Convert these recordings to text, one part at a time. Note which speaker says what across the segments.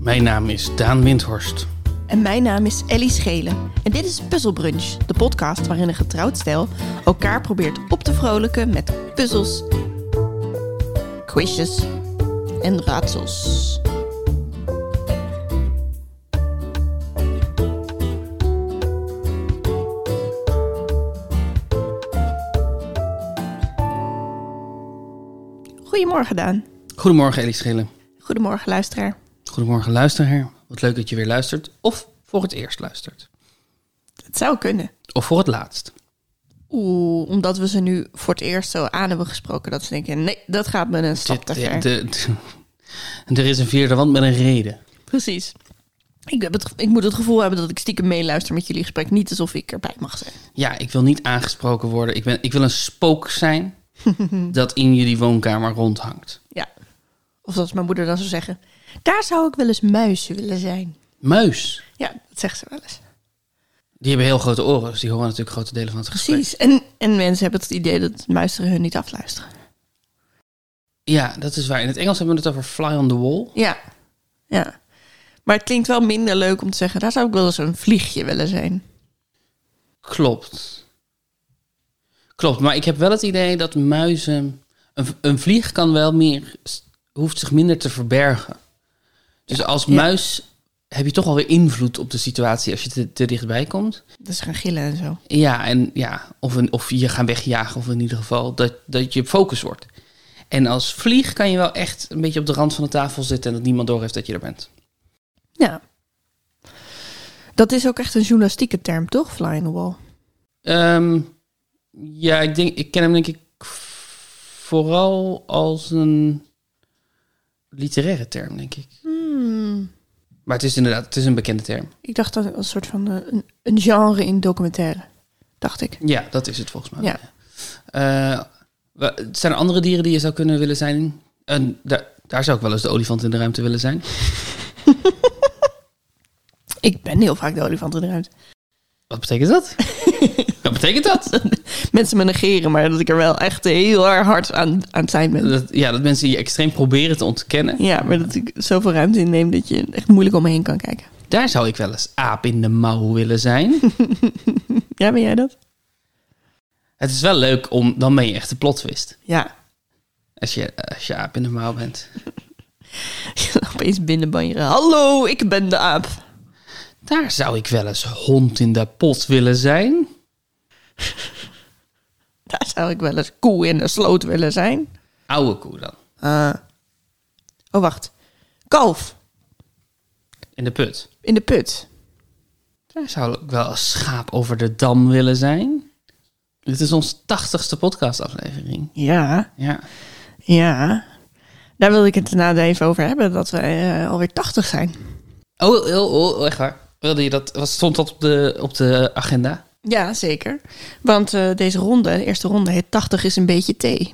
Speaker 1: Mijn naam is Daan Windhorst.
Speaker 2: En mijn naam is Ellie Schelen. En dit is Puzzle Brunch, de podcast waarin een getrouwd stel elkaar probeert op te vrolijken met puzzels, quizjes en raadsels. Goedemorgen Daan.
Speaker 1: Goedemorgen Ellie Schillen.
Speaker 2: Goedemorgen luisteraar.
Speaker 1: Goedemorgen luisteraar. Wat leuk dat je weer luistert. Of voor het eerst luistert.
Speaker 2: Het zou kunnen.
Speaker 1: Of voor het laatst.
Speaker 2: Oeh, omdat we ze nu voor het eerst zo aan hebben gesproken dat ze denken, nee, dat gaat me een stap
Speaker 1: Dit-
Speaker 2: te ver.
Speaker 1: de- de- de- er is een vierde wand met een reden.
Speaker 2: Precies. Ik, heb het, ik moet het gevoel hebben dat ik stiekem meeluister met jullie gesprek. Niet alsof ik erbij mag zijn.
Speaker 1: Ja, ik wil niet aangesproken worden. Ik, ben, ik wil een spook zijn dat in jullie woonkamer rondhangt.
Speaker 2: Ja. Of zoals mijn moeder dan zou zeggen. Daar zou ik wel eens muisje willen zijn.
Speaker 1: Muis.
Speaker 2: Ja, dat zegt ze wel eens.
Speaker 1: Die hebben heel grote oren, dus die horen natuurlijk grote delen van het gesprek.
Speaker 2: Precies. En, en mensen hebben het idee dat muisteren hun niet afluisteren.
Speaker 1: Ja, dat is waar. In het Engels hebben we het over fly on the wall.
Speaker 2: Ja. Ja. Maar het klinkt wel minder leuk om te zeggen. Daar zou ik wel eens een vliegje willen zijn.
Speaker 1: Klopt. Klopt, maar ik heb wel het idee dat muizen. Een, een vlieg kan wel meer. hoeft zich minder te verbergen. Dus als
Speaker 2: ja.
Speaker 1: muis heb je toch alweer invloed op de situatie als je te, te dichtbij komt.
Speaker 2: Dus gaan gillen en zo.
Speaker 1: Ja, en ja, of, een, of je gaan wegjagen, of in ieder geval dat, dat je focus wordt. En als vlieg kan je wel echt een beetje op de rand van de tafel zitten en dat niemand doorheeft dat je er bent.
Speaker 2: Ja. Dat is ook echt een journalistieke term, toch? Fly in the wall.
Speaker 1: Ehm, ja, ik, denk, ik ken hem denk ik vooral als een literaire term, denk ik.
Speaker 2: Hmm.
Speaker 1: Maar het is inderdaad, het is een bekende term.
Speaker 2: Ik dacht dat het een soort van eh, een, een genre in documentaire, dacht ik.
Speaker 1: Ja, dat is het volgens mij.
Speaker 2: Ja.
Speaker 1: Eh, wa- zijn er andere dieren die je zou kunnen willen zijn? En daar, daar zou ik wel eens de olifant in de ruimte willen zijn.
Speaker 2: Ik ben heel vaak de olifant in de ruimte.
Speaker 1: Wat betekent dat? Wat betekent dat?
Speaker 2: Mensen me negeren, maar dat ik er wel echt heel erg hard aan, aan het zijn ben.
Speaker 1: dat? Ja, dat mensen je extreem proberen te ontkennen.
Speaker 2: Ja, maar dat ik zoveel ruimte inneem dat je echt moeilijk om me heen kan kijken.
Speaker 1: Daar zou ik wel eens aap in de mouw willen zijn.
Speaker 2: Ja, ben jij dat?
Speaker 1: het is wel leuk om, dan ben je echt de plotwist.
Speaker 2: Ja.
Speaker 1: Als je, als je aap in de mouw bent.
Speaker 2: Opeens binnenbanjeren. Hallo, ik ben de aap.
Speaker 1: Daar zou ik wel eens hond in de pot willen zijn.
Speaker 2: Daar zou ik wel eens koe in een sloot willen zijn.
Speaker 1: Oude koe dan.
Speaker 2: Ah. oh, wacht. Kalf
Speaker 1: In de put.
Speaker 2: in de put.
Speaker 1: Daar zou ik wel als schaap over de dam willen zijn. Dit is ons tachtigste podcastaflevering.
Speaker 2: Ja.
Speaker 1: Ja.
Speaker 2: Ja, daar wilde ik het daarna even over hebben, dat we eh, alweer 80 zijn.
Speaker 1: Oh, oh, oh, oh, echt waar. Wilde je dat, wat stond dat op de, op de agenda?
Speaker 2: Ja, zeker. Want eh, deze ronde, de eerste ronde, heet 80 is een beetje thee.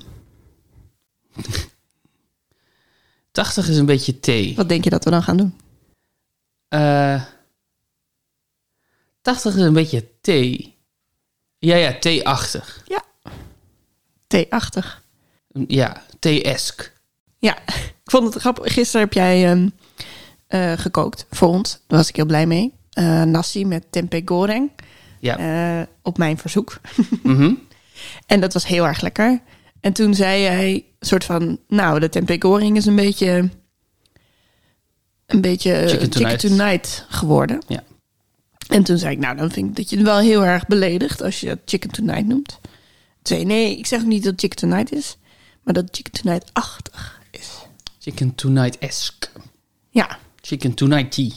Speaker 1: 80 is een beetje thee.
Speaker 2: Wat denk je dat we dan gaan doen?
Speaker 1: Eh 80 is een beetje thee. Ja, ja, thee-achtig.
Speaker 2: Ja. Thee-achtig.
Speaker 1: Ja, thee-esk.
Speaker 2: Ja, ik vond het grappig. Gisteren heb jij ehm, eh, gekookt voor ons. Daar was ik heel blij mee. Eh nasi met tempeh goreng.
Speaker 1: Ja.
Speaker 2: Eh, op mijn verzoek.
Speaker 1: Mhm.
Speaker 2: En dat was heel erg lekker. En toen zei hij soort van, nou, de tempeh goreng is een beetje een beetje eh,
Speaker 1: Chicken
Speaker 2: chicken
Speaker 1: tonight.
Speaker 2: tonight, geworden.
Speaker 1: Ja.
Speaker 2: En toen zei ik, nou, dan vind ik dat je het wel heel erg beledigt als je dat chicken tonight noemt. Toen zei hij, nee, ik zeg ook niet dat chicken tonight is, maar dat chicken tonight 80 is.
Speaker 1: Chicken tonight-esk.
Speaker 2: Ja,
Speaker 1: Chicken tonight tea.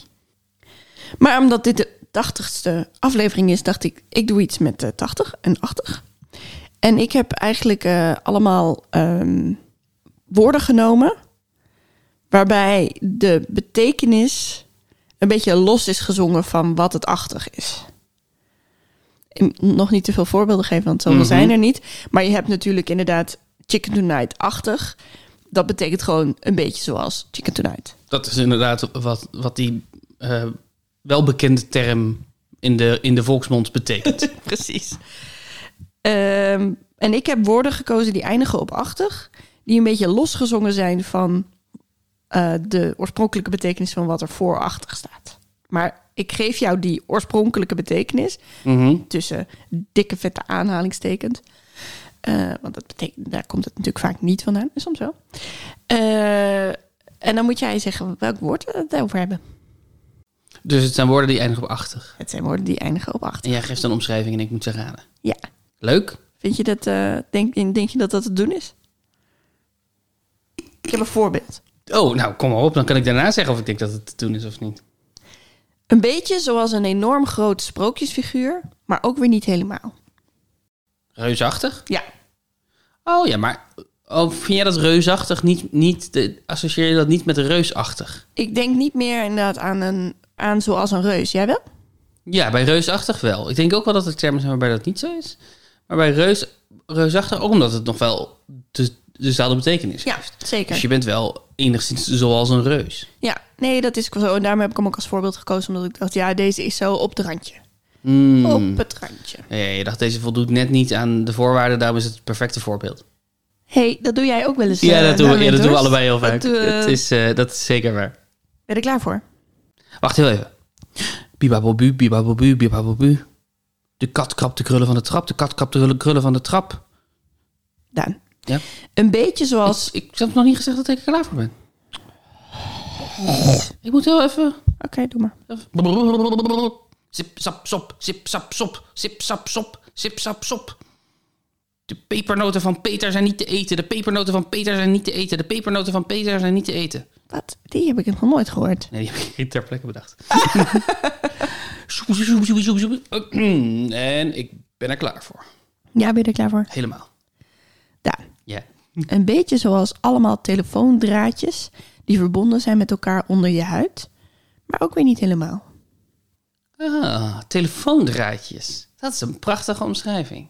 Speaker 2: maar omdat dit de 80ste aflevering is, dacht ik, ik doe iets met eh, 80 en 80. En ik heb eigenlijk eh, allemaal ehm, woorden genomen waarbij de betekenis een beetje los is gezongen van wat het 80 is. En Nog niet te veel voorbeelden geven, want zoveel
Speaker 1: Mhm.
Speaker 2: zijn er niet. Maar je hebt natuurlijk inderdaad Chicken Tonight-achtig. Dat betekent gewoon een beetje zoals Chicken Tonight.
Speaker 1: Dat is inderdaad wat, wat die eh, welbekende term in de, in de volksmond betekent.
Speaker 2: Precies. Ehm, en ik heb woorden gekozen die eindigen op 80, die een beetje losgezongen zijn van eh, eh, de oorspronkelijke betekenis van wat er voor achtig staat. Maar ik geef jou die oorspronkelijke betekenis
Speaker 1: Mhm.
Speaker 2: tussen dikke vette aanhalingstekens. Eh, want dat betekent, daar komt het natuurlijk vaak niet vandaan, maar soms wel. Eh, en dan moet jij zeggen welk woord we het over hebben.
Speaker 1: Dus het zijn woorden die eindigen op 80.
Speaker 2: Het zijn woorden die eindigen op acht.
Speaker 1: En jij geeft een omschrijving en ik moet ze raden.
Speaker 2: Ja.
Speaker 1: Leuk.
Speaker 2: Vind je dat, eh, denk, denk je dat dat te doen is? Ik heb een voorbeeld.
Speaker 1: Oh, nou kom maar op. Dan kan ik daarna zeggen of ik denk dat het te doen is of niet.
Speaker 2: Een beetje zoals een enorm groot sprookjesfiguur, maar ook weer niet helemaal.
Speaker 1: Reusachtig?
Speaker 2: Ja.
Speaker 1: Oh ja, maar oh, vind jij dat reusachtig niet... niet de, associeer je dat niet met reusachtig?
Speaker 2: Ik denk niet meer inderdaad aan, een, aan zoals een reus. Jij wel?
Speaker 1: Ja, bij reusachtig wel. Ik denk ook wel dat er termen zijn waarbij dat niet zo is. Maar bij reus, reusachtig ook omdat het nog wel de, dezelfde betekenis
Speaker 2: Ja,
Speaker 1: heeft.
Speaker 2: zeker.
Speaker 1: Dus je bent wel enigszins zoals een reus.
Speaker 2: Ja, nee, dat is ook zo. En daarom heb ik hem ook als voorbeeld gekozen, omdat ik dacht, ja, deze is zo op het randje.
Speaker 1: Hmm.
Speaker 2: Op het randje.
Speaker 1: Ja, ja, je dacht, deze voldoet net niet aan de voorwaarden, daarom is het het perfecte voorbeeld.
Speaker 2: hey, dat doe jij ook wel eens.
Speaker 1: Ja,
Speaker 2: eh,
Speaker 1: dat, doen,
Speaker 2: naar
Speaker 1: we, ja, dat doen we allebei
Speaker 2: Windhorst.
Speaker 1: heel
Speaker 2: Dat
Speaker 1: vaak.
Speaker 2: doen we-
Speaker 1: Het is, eh, dat is zeker waar.
Speaker 2: Ben je er klaar voor?
Speaker 1: Wacht heel even. Bibabobu, bibabobu, bibabobu. De kat krapt de krullen van de trap, de kat krapt de krullen- krullen van de trap.
Speaker 2: Daan.
Speaker 1: Ja.
Speaker 2: Een beetje zoals...
Speaker 1: Ik heb nog niet gezegd dat ik er klaar voor ben. Ik moet heel even...
Speaker 2: Oké, doe maar.
Speaker 1: even- Zip, sap, sop, zip, sap, sop, zip, sap, sop, zip, sap, sop. De pepernoten van Peter zijn niet te eten. De pepernoten van Peter zijn niet te eten. De pepernoten van Peter zijn niet te eten.
Speaker 2: Wat? Die heb ik nog nooit gehoord.
Speaker 1: Nee, die heb ik niet ter plekke bedacht. Zoep, zoep, zoep, zoep, zoep. en ik ben er klaar voor.
Speaker 2: Ja, ben je er klaar voor?
Speaker 1: Helemaal.
Speaker 2: Daan.
Speaker 1: Ja.
Speaker 2: Een beetje zoals allemaal telefoondraadjes die verbonden zijn met elkaar onder je huid. Maar ook weer niet helemaal.
Speaker 1: Ah, telefoondraadjes. Dat is een prachtige omschrijving.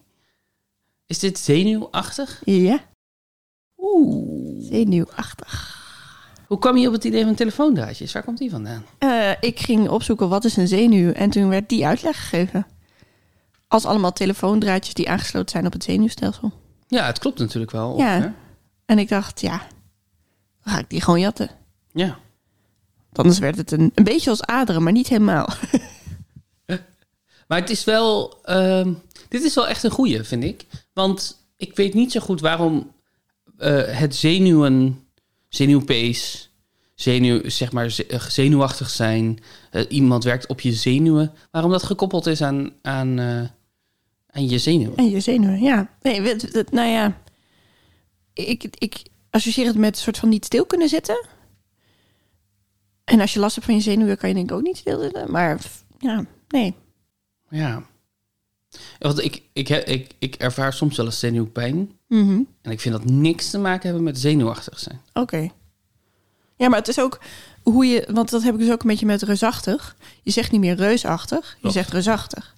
Speaker 1: Is dit zenuwachtig?
Speaker 2: Ja,
Speaker 1: Oeh.
Speaker 2: zenuwachtig.
Speaker 1: Hoe kwam je op het idee van telefoondraadjes? Waar komt die vandaan?
Speaker 2: Eh, ik ging opzoeken wat is een zenuw en toen werd die uitleg gegeven. Als allemaal telefoondraadjes die aangesloten zijn op het zenuwstelsel.
Speaker 1: Ja, het klopt natuurlijk wel.
Speaker 2: Ja.
Speaker 1: ongeveer.
Speaker 2: En ik dacht, ja, dan ga ik die gewoon jatten.
Speaker 1: ja.
Speaker 2: Anders werd het een, een beetje als aderen, maar niet helemaal.
Speaker 1: Maar het is wel. ehm, dit is wel echt een goeie, vind ik. Want ik weet niet zo goed waarom eh, het zenuwen, zenuwpees, zenuw, zeg maar ze- eh, zenuwachtig zijn, eh, iemand werkt op je zenuwen, waarom dat gekoppeld is aan, aan, eh, aan je zenuwen.
Speaker 2: En je zenuwen, ja. Nee, het- het- nou ja, ik, ik associeer het met een soort van niet stil kunnen zitten. En als je last hebt van je zenuwen, kan je denk ik ook niet stil zitten. Maar f- ja, nee.
Speaker 1: Ja. Want ik, ik, he- ik, ik ervaar soms wel eens zenuwpijn.
Speaker 2: Mhm.
Speaker 1: En ik vind dat niks te maken hebben met zenuwachtig zijn.
Speaker 2: Oké. Ja, maar het is ook hoe je... Want dat heb ik dus ook een beetje met reusachtig. Je zegt niet meer reusachtig, je
Speaker 1: Klopt.
Speaker 2: zegt reusachtig.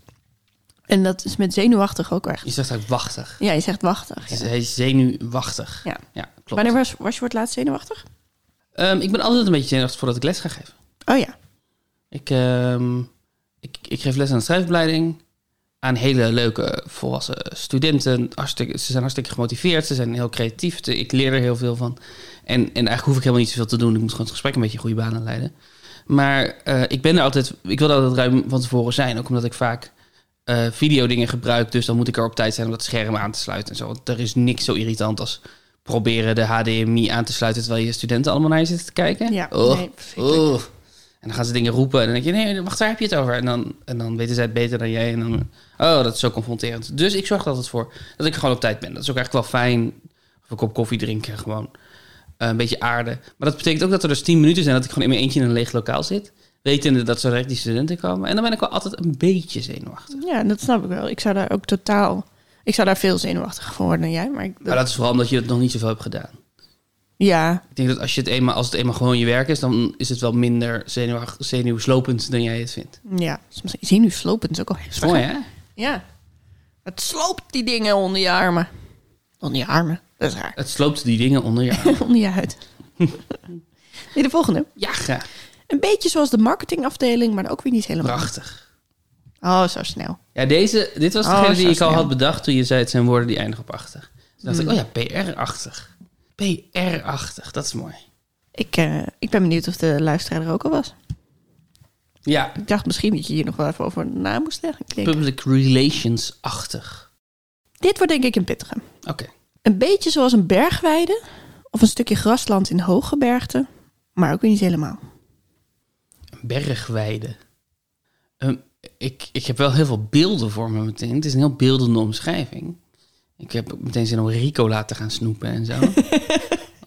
Speaker 2: En dat is met zenuwachtig ook echt.
Speaker 1: Je zegt eigenlijk wachtig.
Speaker 2: Ja, je zegt wachtig. ja.
Speaker 1: Hij is zenuwachtig.
Speaker 2: Ja.
Speaker 1: Ja, klopt.
Speaker 2: Wanneer was, was je voor het laatst zenuwachtig?
Speaker 1: Ehm, ik ben altijd een beetje zenuwachtig voordat ik les ga geven.
Speaker 2: Oh ja.
Speaker 1: Ik, ehm, ik, ik geef les aan de schrijfopleiding. Aan hele leuke volwassen studenten. Hartstikke, ze zijn hartstikke gemotiveerd. Ze zijn heel creatief. Te- Ik leer er heel veel van. En, en eigenlijk hoef ik helemaal niet zoveel te doen. Ik moet gewoon het gesprek een beetje in goede banen leiden. Maar eh, ik ben er altijd... Ik wil er altijd ruim van tevoren zijn. Ook omdat ik vaak eh videodingen gebruik. Dus dan moet ik er op tijd zijn om dat scherm aan te sluiten en zo. Want er is niks zo irritant als proberen de HDMI aan te sluiten... terwijl je studenten allemaal naar je zitten te kijken.
Speaker 2: Ja,
Speaker 1: Och.
Speaker 2: nee, verschrikkelijk.
Speaker 1: Oeh. En dan gaan ze dingen roepen. En dan denk je, nee, wacht, daar heb je het over. En dan, en dan weten zij het beter dan jij. En dan, oh, dat is zo confronterend. Dus ik zorg er altijd voor dat ik gewoon op tijd ben. Dat is ook eigenlijk wel fijn. Of een kop koffie drinken, gewoon eh, een beetje aarde. Maar dat betekent ook dat er dus tien minuten zijn dat ik gewoon in mijn eentje in een leeg lokaal zit. Wetende dat zo direct die studenten komen. En dan ben ik wel altijd een beetje zenuwachtig.
Speaker 2: Ja, dat snap ik wel. Ik zou daar ook totaal... Ik zou daar veel zenuwachtiger voor worden dan jij. Maar ik,
Speaker 1: Maar dat is vooral omdat je het nog niet zoveel hebt gedaan.
Speaker 2: Ja,
Speaker 1: Ik denk dat als, je het eenmaal, als het eenmaal gewoon je werk is, dan is het wel minder zenuwach- zenuwslopend dan jij het vindt.
Speaker 2: ja. Soms zenuwslopend is ook al heel zwaar.
Speaker 1: Mooi, hè?
Speaker 2: Ja. Het sloopt die dingen onder je armen. Onder je armen, dat is raar.
Speaker 1: Het sloopt die dingen onder je arm.
Speaker 2: onder je huid. nee, de volgende.
Speaker 1: Ja, graag.
Speaker 2: Een beetje zoals de marketingafdeling, maar ook weer niet helemaal.
Speaker 1: Prachtig.
Speaker 2: Oh, zo snel.
Speaker 1: Ja, deze, dit was
Speaker 2: Oh,
Speaker 1: degene
Speaker 2: zo
Speaker 1: die ik al
Speaker 2: snel.
Speaker 1: had bedacht toen je zei het zijn woorden die eindigen op 80. Toen dacht ik, oh ja, PR-achtig. PR-achtig, dat is mooi.
Speaker 2: Ik, eh, ik ben benieuwd of de luisteraar er ook al was.
Speaker 1: Ja,
Speaker 2: Ik dacht misschien dat je hier nog wel even over na moest leggen. Ik denk,
Speaker 1: public relations-achtig.
Speaker 2: Dit wordt denk ik een pittige.
Speaker 1: Oké.
Speaker 2: Een beetje zoals een bergweide of een stukje grasland in hooggebergte, maar ook weer niet helemaal.
Speaker 1: Bergweide. Ehm, ik, ik heb wel heel veel beelden voor me meteen. Het is een heel beeldende omschrijving. Ik heb ook meteen zin om Ricola te gaan snoepen en zo.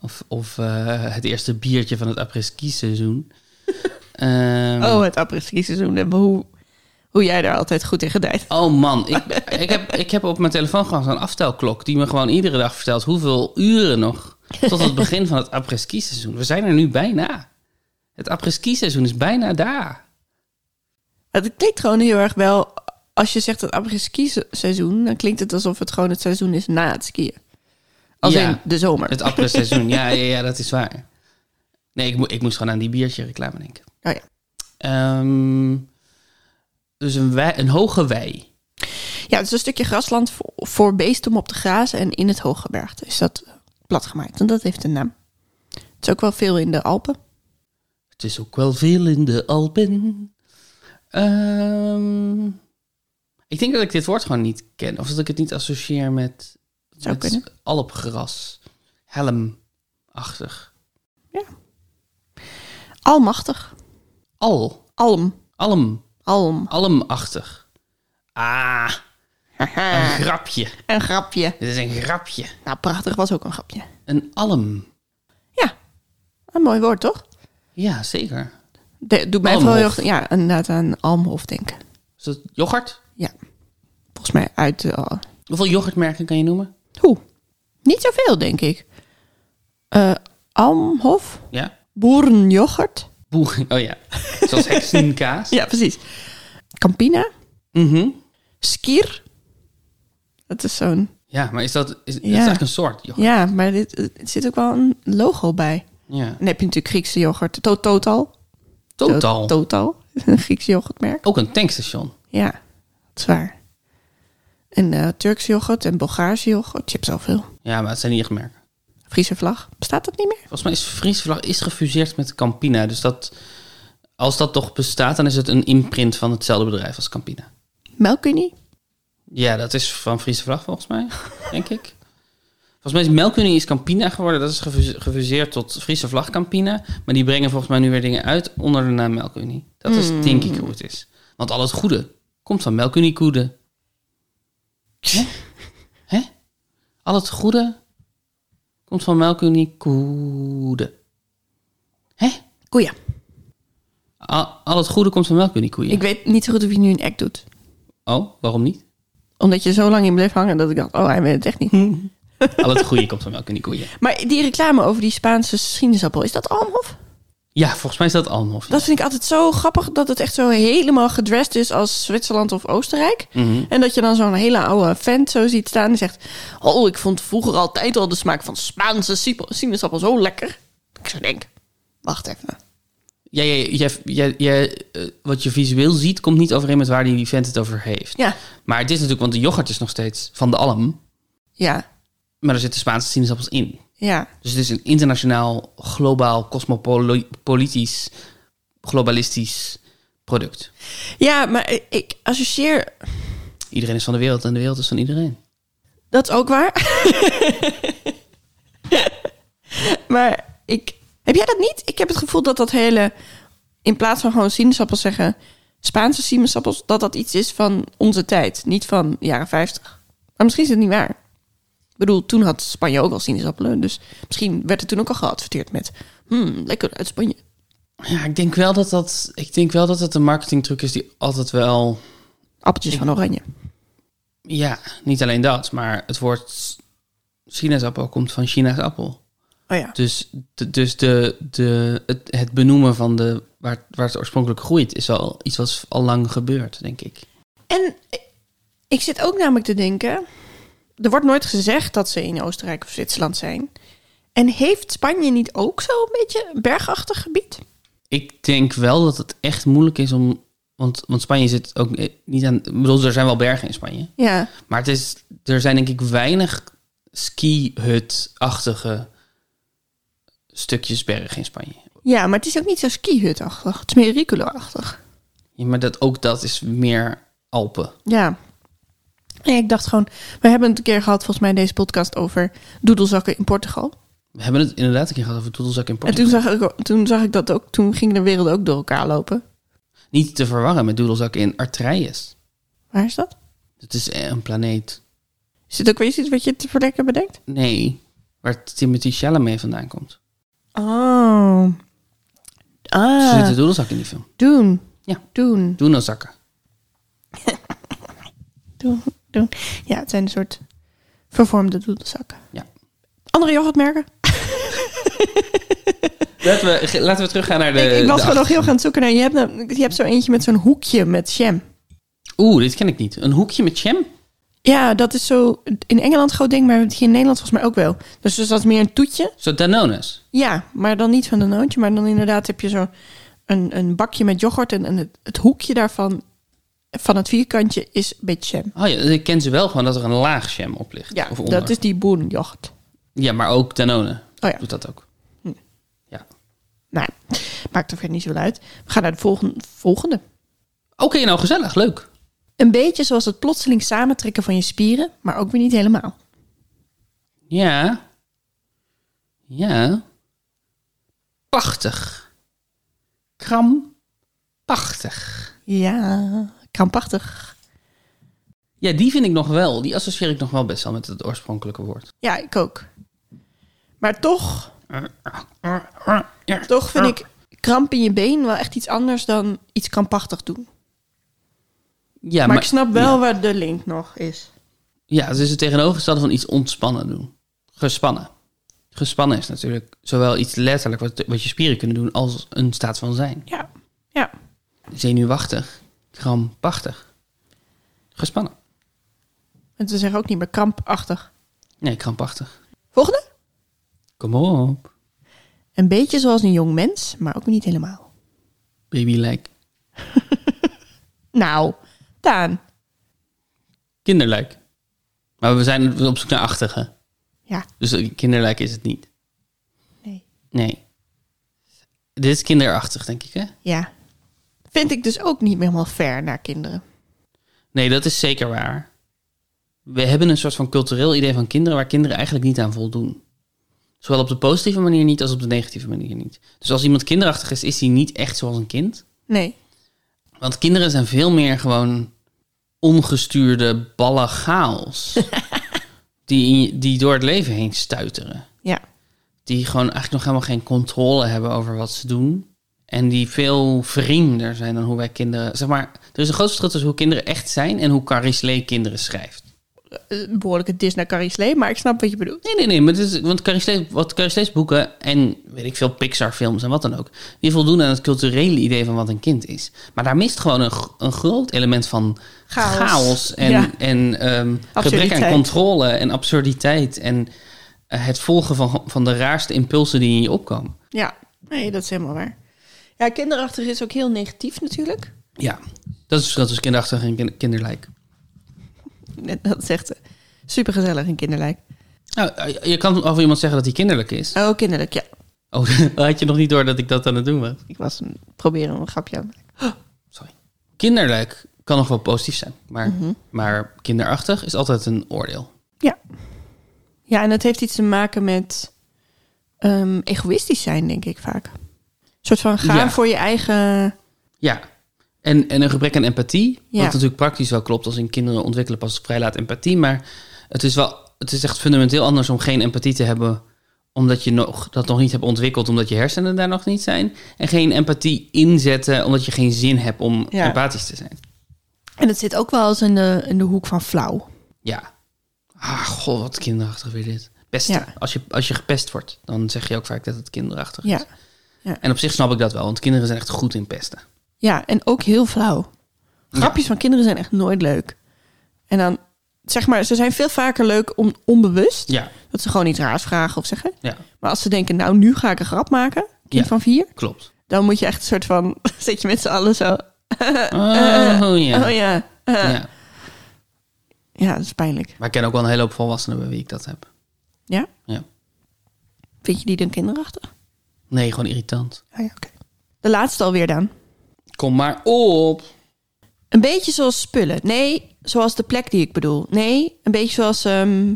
Speaker 1: of of eh, het eerste biertje van het après-ski seizoen. Ehm,
Speaker 2: Oh, het apres-ski seizoen en hoe, hoe jij daar altijd goed in gedijt.
Speaker 1: Oh man, ik, ik, heb, ik heb op mijn telefoon gewoon zo'n aftelklok die me gewoon iedere dag vertelt hoeveel uren nog tot het begin van het après-ski seizoen. We zijn er nu bijna. Het après-ski seizoen is bijna daar.
Speaker 2: Het klinkt gewoon heel erg wel, als je zegt het apres-ski seizoen, dan klinkt het alsof het gewoon het seizoen is na het skiën. Als
Speaker 1: Ja.
Speaker 2: in de zomer.
Speaker 1: Het après-seizoen, ja, ja, ja, dat is waar. Nee, ik, mo- ik moest gewoon aan die biertje reclame denken.
Speaker 2: Oh ja.
Speaker 1: Ehm, dus een, wei- een hoge wei.
Speaker 2: ja, het is een stukje grasland voor, voor beesten om op te grazen en in het hooggebergte is dat platgemaakt. En dat heeft een naam. Het is ook wel veel in de Alpen.
Speaker 1: Het is ook wel veel in de Alpen. Ehm, ik denk dat ik dit woord gewoon niet ken. Of dat ik het niet associeer met,
Speaker 2: Zou
Speaker 1: met
Speaker 2: kunnen.
Speaker 1: alpgras. Helmachtig.
Speaker 2: Almachtig.
Speaker 1: Al.
Speaker 2: Alm.
Speaker 1: Alm.
Speaker 2: Alm.
Speaker 1: Almachtig. Ah, een
Speaker 2: Haha,
Speaker 1: grapje.
Speaker 2: een grapje.
Speaker 1: Dit is een grapje.
Speaker 2: Nou, prachtig was ook een grapje.
Speaker 1: Een alm.
Speaker 2: Ja, een mooi woord toch?
Speaker 1: Ja, zeker.
Speaker 2: De, doet mij
Speaker 1: Almhof.
Speaker 2: vooral heel erg- Ja, inderdaad aan Almhof denken.
Speaker 1: Is dat yoghurt?
Speaker 2: Ja, volgens mij uit... de
Speaker 1: Hoeveel yoghurtmerken kan je noemen?
Speaker 2: hoe? Niet zoveel, denk ik. Eh, Almhof,
Speaker 1: Ja.
Speaker 2: boerenyoghurt.
Speaker 1: Boer. Oh ja. Zoals heksenkaas.
Speaker 2: Ja, precies. Campina,
Speaker 1: Mhm.
Speaker 2: skier. Dat is zo'n...
Speaker 1: Ja, maar is dat, is, dat is
Speaker 2: Ja.
Speaker 1: eigenlijk een soort yoghurt?
Speaker 2: Ja, maar dit, het zit ook wel een logo bij.
Speaker 1: Ja.
Speaker 2: Dan heb je natuurlijk Griekse yoghurt. To- Total.
Speaker 1: Total.
Speaker 2: To- Total. Een Griekse yoghurtmerk.
Speaker 1: Ook een tankstation.
Speaker 2: Ja, dat is waar. En eh Turkse yoghurt en Bulgaarse yoghurt. Je hebt zoveel.
Speaker 1: Ja, maar het zijn niet echt merken.
Speaker 2: Friese vlag. Bestaat dat niet meer?
Speaker 1: Volgens mij is Friese vlag is gefuseerd met Campina. Dus dat, als dat toch bestaat, dan is het een imprint van hetzelfde bedrijf als Campina.
Speaker 2: Melkunie?
Speaker 1: Ja, dat is van Friese vlag volgens mij, denk ik. Volgens mij is Melkunie is Campina geworden. Dat is gefuse- gefuseerd tot Friese vlag Campina. Maar die brengen volgens mij nu weer dingen uit onder de naam Melkunie. Dat is
Speaker 2: Hmm.
Speaker 1: denk ik hoe het is. Want al het goede komt van Melkunie Koede. Hè? Hè? Al het goede komt van Melkunie Koede. Hè?
Speaker 2: Koeien.
Speaker 1: Al, al het goede komt van Melkunie Koeien.
Speaker 2: Ik weet niet zo goed of je nu een act doet.
Speaker 1: Oh, waarom niet?
Speaker 2: Omdat je zo lang in bleef hangen dat ik dacht, oh, hij weet het echt niet.
Speaker 1: Al het goede komt van Melkunie Koeien.
Speaker 2: Maar die reclame over die Spaanse sinaasappel, is dat Almhof?
Speaker 1: Ja, volgens mij is dat Almhof. ja.
Speaker 2: Dat vind ik altijd zo grappig dat het echt zo helemaal gedressed is als Zwitserland of Oostenrijk. En dat je dan zo'n hele oude vent zo ziet staan die zegt: Oh, ik vond vroeger altijd al de smaak van Spaanse siep- sinaasappel zo lekker. Ik zo denk: Wacht even.
Speaker 1: Ja, ja, jij, jij, jij, eh, wat je visueel ziet, komt niet overeen met waar die vent het over heeft.
Speaker 2: Ja,
Speaker 1: Maar het is natuurlijk, want de yoghurt is nog steeds van de alm.
Speaker 2: ja,
Speaker 1: Maar er zitten Spaanse sinaasappels in.
Speaker 2: ja.
Speaker 1: Dus het is een internationaal, globaal, cosmopolitisch, globalistisch product.
Speaker 2: Ja, maar ik- ik associeer
Speaker 1: Iedereen is van de wereld en de wereld is van iedereen.
Speaker 2: Dat is ook waar. maar ik. Heb jij dat niet? Ik heb het gevoel dat dat hele. In plaats van gewoon sinaasappels zeggen. Spaanse sinaasappels. Dat dat iets is van onze tijd. Niet van de jaren 50. Maar misschien is het niet waar. Ik bedoel, toen had Spanje ook al sinaasappelen. Dus misschien werd er toen ook al geadverteerd met. Hmm, lekker uit Spanje.
Speaker 1: Ja, ik denk wel dat dat, ik denk wel dat het een marketingtruc is die altijd wel
Speaker 2: Appeltjes van Oranje.
Speaker 1: Ja, niet alleen dat, maar het woord sinaasappel komt van China's appel.
Speaker 2: Oh ja.
Speaker 1: Dus, de, dus de, de, het, het benoemen van de, waar, waar het oorspronkelijk groeit is wel iets wat al lang gebeurt, denk ik.
Speaker 2: En ik zit ook namelijk te denken. Er wordt nooit gezegd dat ze in Oostenrijk of Zwitserland zijn. En heeft Spanje niet ook zo'n beetje een bergachtig gebied?
Speaker 1: Ik denk wel dat het echt moeilijk is om. Want, want Spanje zit ook eh, niet aan. Ik bedoel, er zijn wel bergen in Spanje.
Speaker 2: Ja,
Speaker 1: Maar het is, er zijn denk ik weinig ski-hut-achtige stukjes berg in Spanje.
Speaker 2: Ja, maar het is ook niet zo skihutachtig. Het is meer Ricola-achtig.
Speaker 1: Ja, maar dat, ook dat is meer Alpen.
Speaker 2: Ja. En ik dacht gewoon, we hebben het een keer gehad, volgens mij in deze podcast, over doedelzakken in Portugal.
Speaker 1: We hebben het inderdaad een keer gehad over doedelzak in
Speaker 2: En
Speaker 1: Portugal.
Speaker 2: toen zag, ik, toen zag ik dat ook, toen gingen de werelden ook door elkaar lopen.
Speaker 1: Niet te verwarren met doedelzak in Artreides.
Speaker 2: Waar is dat?
Speaker 1: Het is een planeet.
Speaker 2: Is het ook weer iets wat je te verdekken bedenkt?
Speaker 1: Nee, waar Timothy Chalamet vandaan komt.
Speaker 2: Oh.
Speaker 1: Ze
Speaker 2: Ah,
Speaker 1: zitten doedelzak in die film.
Speaker 2: doen.
Speaker 1: Ja.
Speaker 2: Doen.
Speaker 1: Doedelzakken.
Speaker 2: Doen. Doen. Ja, het zijn een soort vervormde doedelzakken.
Speaker 1: Ja.
Speaker 2: Andere yoghurtmerken?
Speaker 1: Laten we, ge- laten we teruggaan naar de...
Speaker 2: ik, ik was
Speaker 1: de
Speaker 2: gewoon nog
Speaker 1: achter-
Speaker 2: heel gaan zoeken naar. Je hebt, nou- je hebt zo eentje met zo'n hoekje met jam.
Speaker 1: Oeh, dit ken ik niet. Een hoekje met jam?
Speaker 2: Ja, dat is zo in Engeland een groot ding, maar we hebben het hier in Nederland volgens mij ook wel. Dus, dus dat is meer een toetje.
Speaker 1: Zo Danones.
Speaker 2: Ja, maar dan niet van een nootje. Maar dan inderdaad heb je zo een, een bakje met yoghurt. En, en het, het hoekje daarvan, van het vierkantje, is een beetje jam.
Speaker 1: Oh ja, ik ken ze wel gewoon dat er een laag jam op ligt.
Speaker 2: Ja,
Speaker 1: of onder.
Speaker 2: dat is die boerenjocht.
Speaker 1: ja maar ook Danone
Speaker 2: Oh ja,
Speaker 1: doet dat ook. Ja.
Speaker 2: nou, ja, maakt er verder niet zo uit. We gaan naar de volgende. volgende.
Speaker 1: Oké, nou gezellig, leuk.
Speaker 2: Een beetje zoals het plotseling samentrekken van je spieren, maar ook weer niet helemaal.
Speaker 1: Ja. Ja. Pachtig. Kram. Pachtig.
Speaker 2: Ja, krampachtig.
Speaker 1: Ja, die vind ik nog wel. Die associeer ik nog wel best wel met het oorspronkelijke woord.
Speaker 2: Ja, ik ook. Maar toch, toch vind ik kramp in je been wel echt iets anders dan iets krampachtig doen.
Speaker 1: Ja,
Speaker 2: maar,
Speaker 1: maar,
Speaker 2: ik snap wel waar de link nog is.
Speaker 1: ja, het is het tegenovergestelde van iets ontspannen doen. Gespannen. Gespannen is natuurlijk zowel iets letterlijk wat, wat je spieren kunnen doen als een staat van zijn.
Speaker 2: Ja, ja.
Speaker 1: Zenuwachtig, krampachtig, gespannen.
Speaker 2: En ze zeggen ook niet meer krampachtig.
Speaker 1: Nee, krampachtig.
Speaker 2: Volgende?
Speaker 1: Kom op,
Speaker 2: Een beetje zoals een jong mens, maar ook niet helemaal.
Speaker 1: baby-like,
Speaker 2: Nou, Daan.
Speaker 1: kinderlijk. Maar we zijn op zoek naar achtige.
Speaker 2: Ja,
Speaker 1: Dus eh, kinderlijk is het niet.
Speaker 2: nee.
Speaker 1: Nee. Dit is kinderachtig, denk ik, hè?
Speaker 2: Ja. Vind ik dus ook niet meer helemaal fair naar kinderen.
Speaker 1: Nee, dat is zeker waar. We hebben een soort van cultureel idee van kinderen waar kinderen eigenlijk niet aan voldoen. Zowel op de positieve manier niet als op de negatieve manier niet. Dus als iemand kinderachtig is, is hij niet echt zoals een kind.
Speaker 2: Nee.
Speaker 1: Want kinderen zijn veel meer gewoon ongestuurde ballen chaos. die, die door het leven heen stuiteren.
Speaker 2: Ja.
Speaker 1: Die gewoon eigenlijk nog helemaal geen controle hebben over wat ze doen. En die veel vreemder zijn dan hoe wij kinderen... Zeg maar, er is een groot verschil tussen hoe kinderen echt zijn... en hoe Caris Lee kinderen schrijft.
Speaker 2: Eh, behoorlijke dis naar Carrie Slee, maar ik snap wat je bedoelt.
Speaker 1: Nee, nee, nee. Maar het is, want Carrie Slees, wat Carrie Slees boeken en weet ik veel Pixar films en wat dan ook... die voldoen aan het culturele idee van wat een kind is. Maar daar mist gewoon een, gro- een groot element van
Speaker 2: Chaos.
Speaker 1: chaos, en,
Speaker 2: Ja.
Speaker 1: en ehm, gebrek aan
Speaker 2: Absurditeit.
Speaker 1: controle en absurditeit... en eh, het volgen van, van de raarste impulsen die in je opkomen.
Speaker 2: Ja, nee, dat is helemaal waar. Ja, kinderachtig is ook heel negatief natuurlijk.
Speaker 1: Ja, dat is het verschil tussen kinderachtig en kin- kinderlijk.
Speaker 2: Net Dat zegt ze. Supergezellig en kinderlijk.
Speaker 1: Nou, eh, je kan over iemand zeggen dat hij kinderlijk is.
Speaker 2: Oh, kinderlijk, ja.
Speaker 1: Oh, had je nog niet door dat ik dat aan het doen was.
Speaker 2: Ik was een, proberen een grapje aan te maken.
Speaker 1: Sorry. Kinderlijk kan nog wel positief zijn, maar, maar kinderachtig is altijd een oordeel.
Speaker 2: Ja. Ja, en dat heeft iets te maken met ehm, egoïstisch zijn, denk ik vaak. Een soort van gaan
Speaker 1: Ja.
Speaker 2: voor je eigen...
Speaker 1: Ja. En, en een gebrek aan empathie.
Speaker 2: Ja.
Speaker 1: Wat natuurlijk praktisch wel klopt als in kinderen ontwikkelen pas vrij laat empathie. Maar het is wel, het is echt fundamenteel anders om geen empathie te hebben omdat je nog, dat nog niet hebt ontwikkeld, omdat je hersenen daar nog niet zijn. En geen empathie inzetten, omdat je geen zin hebt om
Speaker 2: Ja.
Speaker 1: empathisch te zijn.
Speaker 2: En het zit ook wel eens in de, in de hoek van flauw.
Speaker 1: Ja. Ah, god, wat kinderachtig weer dit. Pesten.
Speaker 2: Ja.
Speaker 1: Als, je, als je gepest wordt, dan zeg je ook vaak dat het kinderachtig is.
Speaker 2: Ja.
Speaker 1: En op zich snap ik dat wel, want kinderen zijn echt goed in pesten.
Speaker 2: Ja, en ook heel flauw. Grapjes van kinderen zijn echt nooit leuk. En dan, zeg maar, ze zijn veel vaker leuk om, onbewust.
Speaker 1: Ja,
Speaker 2: Dat ze gewoon iets raars vragen of zeggen.
Speaker 1: ja
Speaker 2: Maar als ze denken, nou, nu ga ik een grap maken, kind
Speaker 1: Ja.
Speaker 2: van vier.
Speaker 1: klopt.
Speaker 2: Dan moet je echt een soort van, zit je met z'n allen zo.
Speaker 1: Oh ja.
Speaker 2: Eh, Oh ja. eh.
Speaker 1: ja.
Speaker 2: Ja, dat is pijnlijk.
Speaker 1: Maar ik ken ook wel een hele hoop volwassenen bij wie ik dat heb.
Speaker 2: Ja?
Speaker 1: Ja.
Speaker 2: Vind je die dan kinderachtig?
Speaker 1: Nee, gewoon irritant.
Speaker 2: Ah ja, oké. De laatste alweer dan.
Speaker 1: Kom maar op.
Speaker 2: Een beetje zoals spullen. Nee, zoals de plek die ik bedoel. Nee, een beetje zoals... ehm,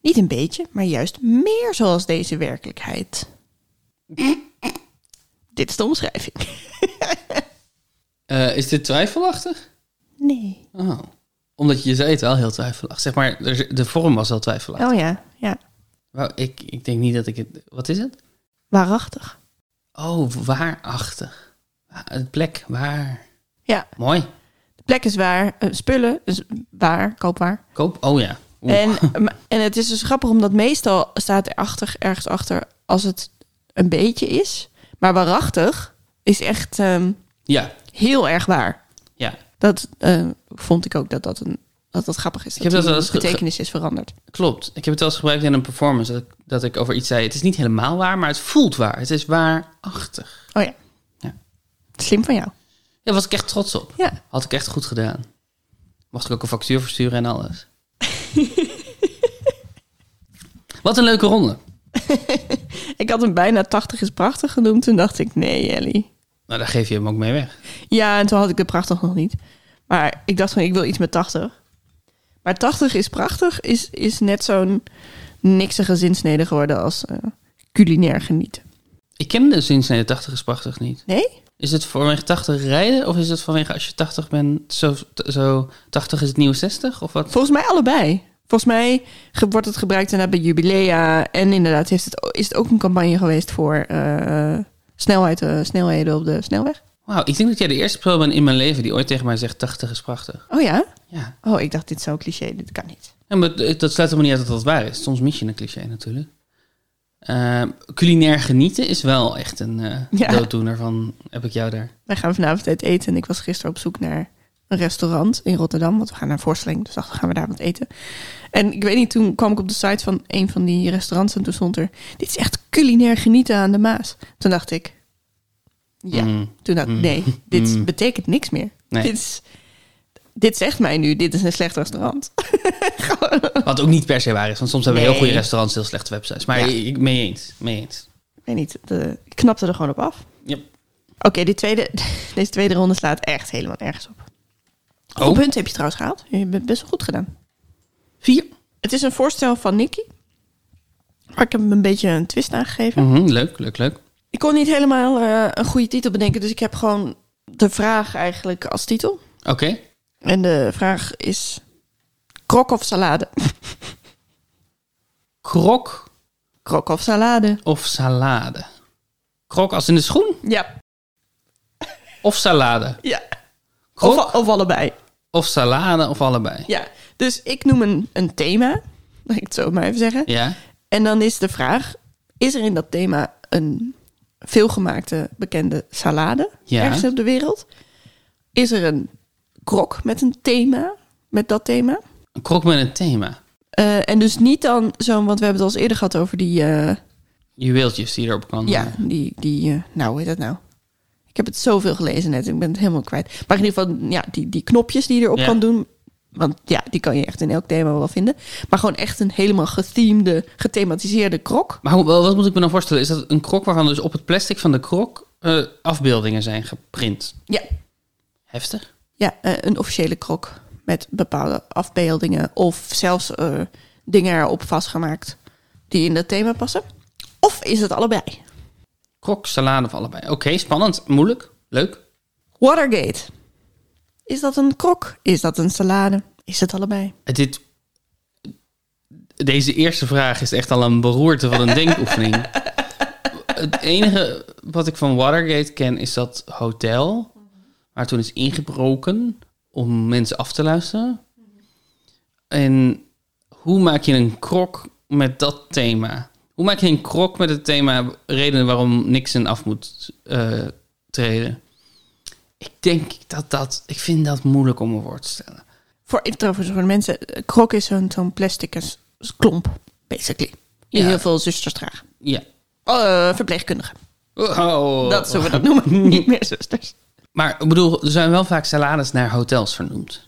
Speaker 2: niet een beetje, maar juist meer zoals deze werkelijkheid. Dit is de omschrijving.
Speaker 1: Eh, is dit twijfelachtig?
Speaker 2: Nee.
Speaker 1: Oh. Omdat je zei het wel heel twijfelachtig. Zeg maar, er- de vorm was al twijfelachtig.
Speaker 2: Oh ja, ja.
Speaker 1: Wauw, ik, ik denk niet dat ik het... Wat is het?
Speaker 2: Waarachtig.
Speaker 1: Oh, waarachtig. Wa- Een plek, waar.
Speaker 2: Ja,
Speaker 1: Mooi.
Speaker 2: de plek is waar. eh, spullen is waar, koopwaar.
Speaker 1: Koop. Oh ja. Oeh.
Speaker 2: En, maar- en het is dus grappig, omdat meestal staat er achter, ergens achter als het een beetje is. Maar waarachtig is echt ehm,
Speaker 1: Ja,
Speaker 2: heel erg waar.
Speaker 1: ja.
Speaker 2: Dat eh, vond ik ook dat dat, een, dat, dat grappig is. Dat
Speaker 1: heb dat wel
Speaker 2: die
Speaker 1: eens ge-
Speaker 2: betekenis is veranderd.
Speaker 1: Klopt. Ik heb het wel eens gebruikt in een performance. Dat ik, dat ik over iets zei. Het is niet helemaal waar, maar het voelt waar. Het is waarachtig.
Speaker 2: Oh ja.
Speaker 1: Ja.
Speaker 2: Slim van jou.
Speaker 1: Daar was ik echt trots op.
Speaker 2: Ja.
Speaker 1: Had ik echt goed gedaan. Mocht ik ook een factuur versturen en alles. Wat een leuke ronde.
Speaker 2: Ik had hem bijna 80 is prachtig genoemd. Toen dacht ik, nee Ellie.
Speaker 1: Nou, daar geef je hem ook mee weg.
Speaker 2: Ja, en toen had ik de prachtig nog niet. Maar ik dacht van, ik wil iets met 80. Maar 80 is prachtig is, is net zo'n niksige zinsnede geworden als eh, culinair genieten.
Speaker 1: Ik ken de zinsnede 80 is prachtig niet.
Speaker 2: Nee?
Speaker 1: Is het vanwege 80 rijden of is het vanwege als je 80 bent, zo, zo 80 is het nieuwe 60 of wat?
Speaker 2: Volgens mij allebei. Volgens mij ge- wordt het gebruikt inderdaad bij jubilea. En inderdaad heeft het, o- is het ook een campagne geweest voor eh, snelheid, eh, snelheden op de snelweg.
Speaker 1: Wauw, ik denk dat jij de eerste persoon bent in mijn leven die ooit tegen mij zegt 80 is prachtig.
Speaker 2: Oh ja?
Speaker 1: Ja.
Speaker 2: Oh, ik dacht, dit is zo'n cliché. Dit kan niet.
Speaker 1: Ja, maar dat dat sluit helemaal niet uit dat dat waar is. Soms mis je een cliché natuurlijk. Ehm, culinair genieten is wel echt een eh,
Speaker 2: Ja.
Speaker 1: dooddoener van heb ik jou daar.
Speaker 2: Wij gaan vanavond uit eten. En ik was gisteren op zoek naar een restaurant in Rotterdam. Want we gaan naar Voorstelling. Dus dacht, gaan we daar wat eten. En ik weet niet, toen kwam ik op de site van een van die restaurants. En toen stond er, dit is echt culinair genieten aan de Maas. Toen dacht ik, ja.
Speaker 1: Mm.
Speaker 2: Toen dacht ik,
Speaker 1: Mm.
Speaker 2: nee, dit
Speaker 1: Mm.
Speaker 2: betekent niks meer.
Speaker 1: Nee.
Speaker 2: Dit, is, dit zegt mij nu, dit is een slecht restaurant.
Speaker 1: Wat ook niet per se waar is, want soms hebben we
Speaker 2: Nee.
Speaker 1: heel goede restaurants, heel slechte websites. Maar
Speaker 2: Ja.
Speaker 1: ik, ik mee eens, mee eens.
Speaker 2: Ik weet niet, de, ik knapte er gewoon op af.
Speaker 1: Yep.
Speaker 2: Oké, dit tweede, deze tweede ronde slaat echt helemaal nergens op.
Speaker 1: Oh.
Speaker 2: Hoeveel punten heb je trouwens gehaald? Je hebt het best wel goed gedaan.
Speaker 1: Vier.
Speaker 2: Het is een voorstel van Nicky. Maar ik heb hem een beetje een twist aangegeven.
Speaker 1: Mhm, leuk, leuk, leuk.
Speaker 2: Ik kon niet helemaal eh, een goede titel bedenken. Dus ik heb gewoon de vraag eigenlijk als titel.
Speaker 1: Oké.
Speaker 2: En de vraag is... Krok of salade?
Speaker 1: Krok
Speaker 2: Krok of salade?
Speaker 1: of salade? Krok als in de schoen
Speaker 2: Ja.
Speaker 1: of salade?
Speaker 2: ja.
Speaker 1: Krok
Speaker 2: Of,
Speaker 1: of,
Speaker 2: of allebei.
Speaker 1: salade of allebei?
Speaker 2: Ja. Dus ik noem een, een thema. Laat ik het zo maar even zeggen.
Speaker 1: Ja.
Speaker 2: En dan is de vraag... Is er in dat thema een veelgemaakte bekende salade?
Speaker 1: Ja.
Speaker 2: Ergens op de wereld? Is er een krok met een thema? Met dat thema?
Speaker 1: Een krok met een thema.
Speaker 2: Eh, en dus niet dan zo'n... Want we hebben het al eens eerder gehad over die... eh,
Speaker 1: Juweeltjes die erop kan.
Speaker 2: ja, die... die eh, nou, hoe heet dat nou? Ik heb het zoveel gelezen net. Ik ben het helemaal kwijt. Maar in ieder geval, ja, die, die knopjes die je erop
Speaker 1: Ja.
Speaker 2: kan doen. Want ja, die kan je echt in elk thema wel vinden. Maar gewoon echt een helemaal gethemde, gethematiseerde krok.
Speaker 1: Maar hoe- wat moet ik me dan voorstellen? Is dat een krok waarvan dus op het plastic van de krok eh, afbeeldingen zijn geprint?
Speaker 2: Ja,
Speaker 1: Heftig.
Speaker 2: Ja, eh, een officiële krok met bepaalde afbeeldingen of zelfs eh, dingen erop vastgemaakt die in dat thema passen. Of is het allebei?
Speaker 1: Krok, salade of allebei. Oké, spannend. Moeilijk. Leuk.
Speaker 2: Watergate. Is dat een krok? Is dat een salade? Is het allebei?
Speaker 1: Eh, Dit, deze eerste vraag is echt al een beroerte van een denkoefening. Het enige wat ik van Watergate ken is dat hotel. Waar toen is ingebroken om mensen af te luisteren. En hoe maak je een krok met dat thema? Hoe maak je een krok met het thema redenen waarom niks in af moet eh, treden? Ik denk dat dat... Ik vind dat moeilijk om een woord te stellen.
Speaker 2: Voor introverts, voor de mensen, eh, krok is zo'n zo'n plastic eh, s- s- klomp, basically. Die
Speaker 1: Ja.
Speaker 2: heel veel zusters dragen.
Speaker 1: Ja.
Speaker 2: Eh, verpleegkundigen.
Speaker 1: Oh.
Speaker 2: Dat zullen we dat noemen. Niet meer zusters.
Speaker 1: Maar ik bedoel, er zijn wel vaak salades naar hotels vernoemd.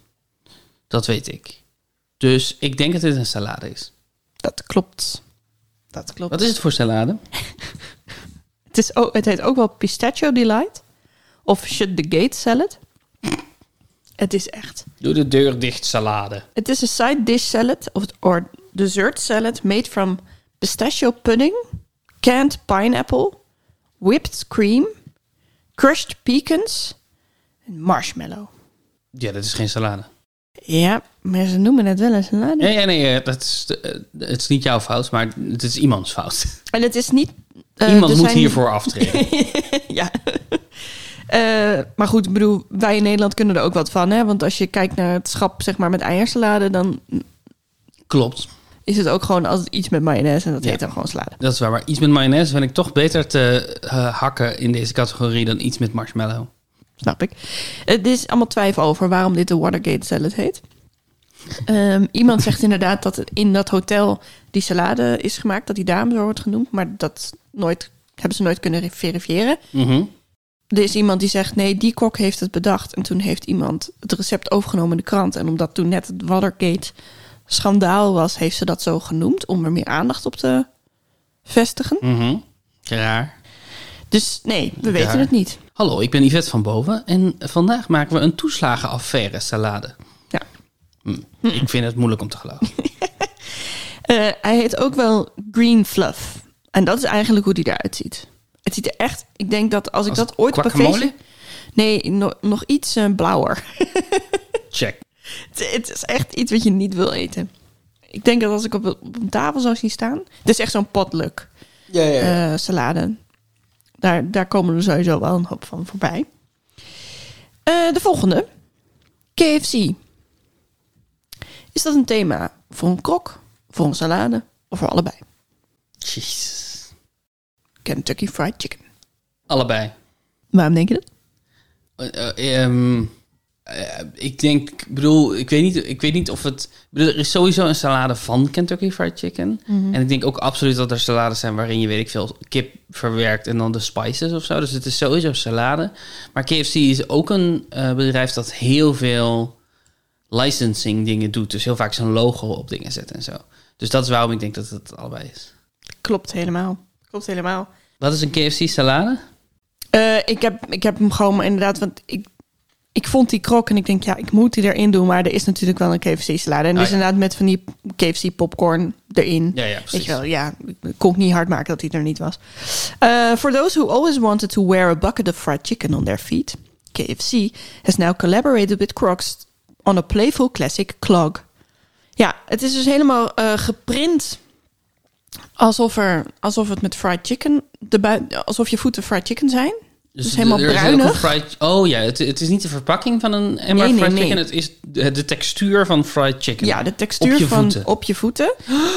Speaker 1: Dat weet ik. Dus ik denk dat dit een salade is.
Speaker 2: Dat klopt. Dat klopt.
Speaker 1: Wat is het voor salade?
Speaker 2: Het, is ook, het heet ook wel Pistachio Delight. Of Shut the Gate Salad. Het is echt.
Speaker 1: Doe de deur dicht salade.
Speaker 2: Het is een side dish salad of or dessert salad made from pistachio pudding, canned pineapple, whipped cream, crushed pecans en marshmallow.
Speaker 1: Ja, dat is geen salade.
Speaker 2: Ja, maar ze noemen het wel een salade.
Speaker 1: Nee, nee, nee eh, dat is, eh, het is niet jouw fout, maar het is iemands fout.
Speaker 2: En het is niet. eh,
Speaker 1: Iemand
Speaker 2: er
Speaker 1: moet
Speaker 2: zijn-
Speaker 1: hiervoor aftreden.
Speaker 2: ja. Eh, maar goed, ik bedoel, wij in Nederland kunnen er ook wat van. Hè? Want als je kijkt naar het schap zeg maar, met eiersalade, dan
Speaker 1: Klopt.
Speaker 2: is het ook gewoon als iets met mayonaise. En dat
Speaker 1: Ja.
Speaker 2: heet dan gewoon salade.
Speaker 1: Dat is waar, maar iets met mayonaise vind ik toch beter te eh, hakken in deze categorie dan iets met marshmallow.
Speaker 2: Snap ik. Het is allemaal twijfel over waarom dit de Watergate salad heet. Ehm, iemand zegt inderdaad dat het in dat hotel die salade is gemaakt, dat die daarom zo wordt genoemd, maar dat nooit, hebben ze nooit kunnen verifiëren.
Speaker 1: Mhm.
Speaker 2: Er is iemand die zegt, nee, die kok heeft het bedacht. En toen heeft iemand het recept overgenomen in de krant. En omdat toen net het Watergate-schandaal was, heeft ze dat zo genoemd om er meer aandacht op te vestigen.
Speaker 1: mhm. Raar.
Speaker 2: Dus nee, we
Speaker 1: Daar.
Speaker 2: weten het niet.
Speaker 1: Hallo, ik ben Yvette van Boven en vandaag maken we een toeslagenaffaire salade.
Speaker 2: Ja.
Speaker 1: Hm, Ik vind het moeilijk om te geloven.
Speaker 2: Eh, hij heet ook wel Green Fluff. En dat is eigenlijk hoe die eruit ziet. Het ziet er echt... Ik denk dat als ik
Speaker 1: Als
Speaker 2: dat ooit op een
Speaker 1: guacamole?
Speaker 2: feestje... Nee, no- nog iets eh, blauwer.
Speaker 1: Check.
Speaker 2: het, het is echt iets wat je niet wil eten. Ik denk dat als ik op, op een tafel zou zien staan... Het is echt zo'n potluck
Speaker 1: Ja,
Speaker 2: eh, salade. Daar, daar komen er sowieso wel een hoop van voorbij. Eh, de volgende. KFC. Is dat een thema voor een krok, voor een salade of voor allebei?
Speaker 1: Jezus.
Speaker 2: Kentucky Fried Chicken.
Speaker 1: Allebei.
Speaker 2: Waarom denk je dat?
Speaker 1: Eh, eh, ehm, eh, ik denk, ik bedoel, ik weet niet, ik weet niet of het. ik bedoel, er is sowieso een salade van Kentucky Fried Chicken.
Speaker 2: Mhm.
Speaker 1: En ik denk ook absoluut dat er salades zijn waarin je, weet ik veel, kip verwerkt en dan de spices of zo. Dus het is sowieso salade. Maar KFC is ook een eh, bedrijf dat heel veel licensing dingen doet. Dus heel vaak zijn logo op dingen zet en zo. Dus dat is waarom ik denk dat het allebei is.
Speaker 2: Klopt helemaal. Klopt helemaal.
Speaker 1: Wat is een KFC salade?
Speaker 2: Eh, ik, heb, ik heb hem gewoon maar inderdaad, want ik, ik vond die krok en ik denk, ja, ik moet die erin doen. Maar er is natuurlijk wel een KFC-salade.
Speaker 1: Ah,
Speaker 2: En die is
Speaker 1: ja.
Speaker 2: inderdaad met van die KFC-popcorn erin.
Speaker 1: Ja, ja, precies.
Speaker 2: Weet je wel, ja, ik kon ik niet hard maken dat hij er niet was. Eh, for those who always wanted to wear a bucket of fried chicken on their feet, KFC has now collaborated with Crocs on a playful classic clog. Ja, het is dus helemaal eh, geprint alsof, er, alsof het met fried chicken, de bui- alsof je voeten fried chicken zijn. Dus, helemaal
Speaker 1: er is heel veel
Speaker 2: bruinig.
Speaker 1: fried- oh ja, het, het is niet de verpakking van een emmer
Speaker 2: Nee, nee,
Speaker 1: fried
Speaker 2: nee.
Speaker 1: chicken. Het is de, de textuur van fried chicken.
Speaker 2: Ja, de textuur
Speaker 1: Op je
Speaker 2: van
Speaker 1: voeten.
Speaker 2: op je voeten.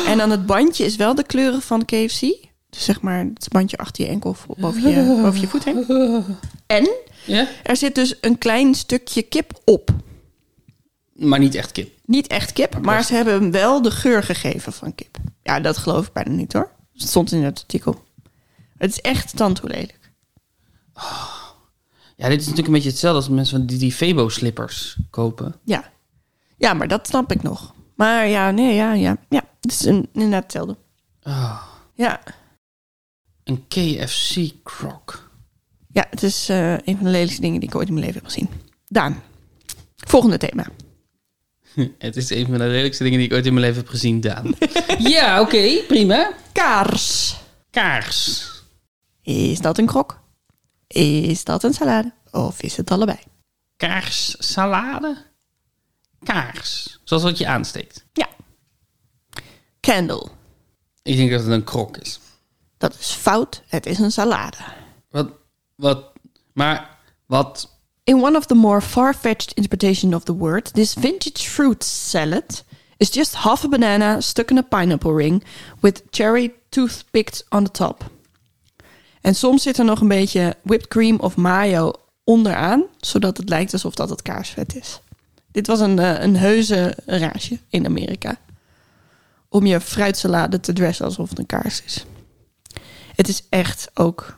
Speaker 2: En dan het bandje is wel de kleuren van KFC. Dus zeg maar het bandje achter je enkel vo- boven je, boven je voet heen. En
Speaker 1: Ja?
Speaker 2: er zit dus een klein stukje kip op.
Speaker 1: Maar niet echt kip.
Speaker 2: Niet echt kip, maar ze hebben hem wel de geur gegeven van kip. Ja, dat geloof ik bijna niet hoor. Het stond in het artikel. Het is echt tandhoe lelijk.
Speaker 1: Ja, dit is natuurlijk een beetje hetzelfde als mensen van die, die Febo-slippers kopen.
Speaker 2: Ja. ja, maar dat snap ik nog. Maar ja, nee, ja, ja. Ja, het is een, inderdaad hetzelfde.
Speaker 1: Oh,
Speaker 2: Ja,
Speaker 1: een KFC-croc.
Speaker 2: Ja, het is eh, een van de lelijkste dingen die ik ooit in mijn leven heb gezien. Daan, volgende thema.
Speaker 1: het is een van de lelijkste dingen die ik ooit in mijn leven heb gezien, Daan. ja, oké, prima.
Speaker 2: Kaars.
Speaker 1: Kaars.
Speaker 2: Is dat een krok? Is dat een salade? Of is het allebei?
Speaker 1: Kaars-salade? Kaars. Zoals wat je aansteekt.
Speaker 2: Ja. Candle.
Speaker 1: Ik denk dat het een krok is.
Speaker 2: Dat is fout. Het is een salade.
Speaker 1: Wat, wat, maar wat
Speaker 2: In one of the more far-fetched interpretation of the word, this vintage fruit salad is just half a banana stuck in a pineapple ring with cherry toothpicked on the top. En soms zit er nog een beetje whipped cream of mayo onderaan, zodat het lijkt alsof dat het kaarsvet is. Dit was een, eh, een heuse raasje in Amerika. Om je fruitsalade te dressen alsof het een kaars is. Het is echt ook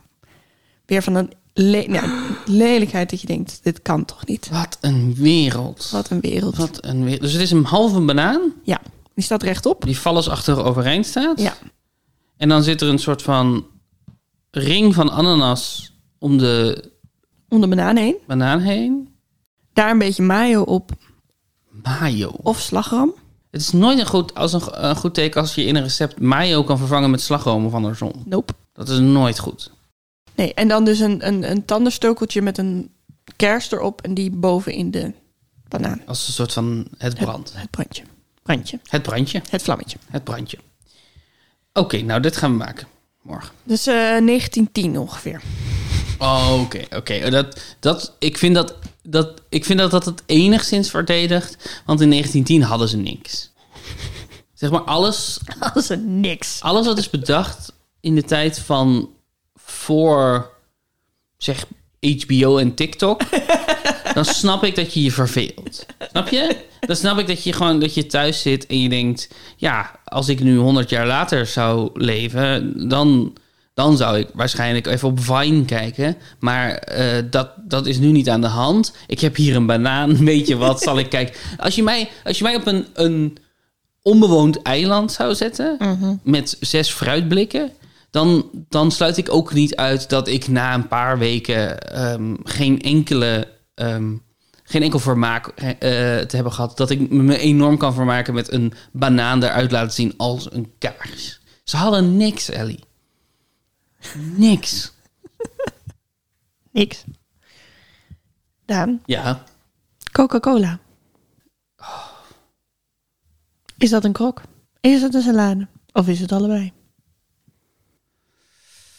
Speaker 2: weer van een le- ja, lelijkheid dat je denkt, dit kan toch niet?
Speaker 1: Wat een wereld.
Speaker 2: Wat een wereld.
Speaker 1: Wat een wereld. Dus het is een halve banaan
Speaker 2: Ja, die staat rechtop.
Speaker 1: die vals achter overeind staat.
Speaker 2: Ja,
Speaker 1: En dan zit er een soort van ring van ananas om de
Speaker 2: Om de banaan heen.
Speaker 1: banaan heen.
Speaker 2: Daar een beetje mayo op
Speaker 1: Mayo.
Speaker 2: of slagroom.
Speaker 1: Het is nooit een goed, als een, go- een goed teken als je in een recept mayo kan vervangen met slagroom of andersom.
Speaker 2: Nope.
Speaker 1: Dat is nooit goed.
Speaker 2: Nee, en dan dus een, een, een tandenstokeltje met een kers erop en die boven in de banaan.
Speaker 1: Als een soort van het brand.
Speaker 2: Het brandje. Brandje.
Speaker 1: Het brandje.
Speaker 2: Het vlammetje.
Speaker 1: Het brandje. Oké, nou dit gaan we maken. Morgen.
Speaker 2: Dus eh, 1910 ongeveer.
Speaker 1: Oh, Oké, oké. Dat, dat, ik vind dat, dat, ik vind dat dat het enigszins verdedigt. Want in 1910 hadden ze niks. Zeg maar, alles,
Speaker 2: Dat is een niks.
Speaker 1: alles wat is bedacht in de tijd van voor, zeg, HBO en TikTok. dan snap ik dat je je verveelt. Snap je? Dan snap ik dat je gewoon dat je thuis zit en je denkt... ja, als ik nu 100 jaar later zou leven... dan, dan zou ik waarschijnlijk even op Vine kijken. Maar eh, dat, dat is nu niet aan de hand. Ik heb hier een banaan, weet je wat, zal ik kijken. Als je mij, als je mij op een, een onbewoond eiland zou zetten... met zes fruitblikken... Dan, dan sluit ik ook niet uit dat ik na een paar weken ehm, geen enkele ehm, geen enkel vermaak eh, eh, te hebben gehad. Dat ik me enorm kan vermaken met een banaan eruit laten zien als een kaars. Ze hadden niks, Ellie. Niks.
Speaker 2: Niks. Daan,
Speaker 1: Ja.
Speaker 2: Coca-Cola. Oh. Is dat een krok? Is het een salade? Of is het allebei?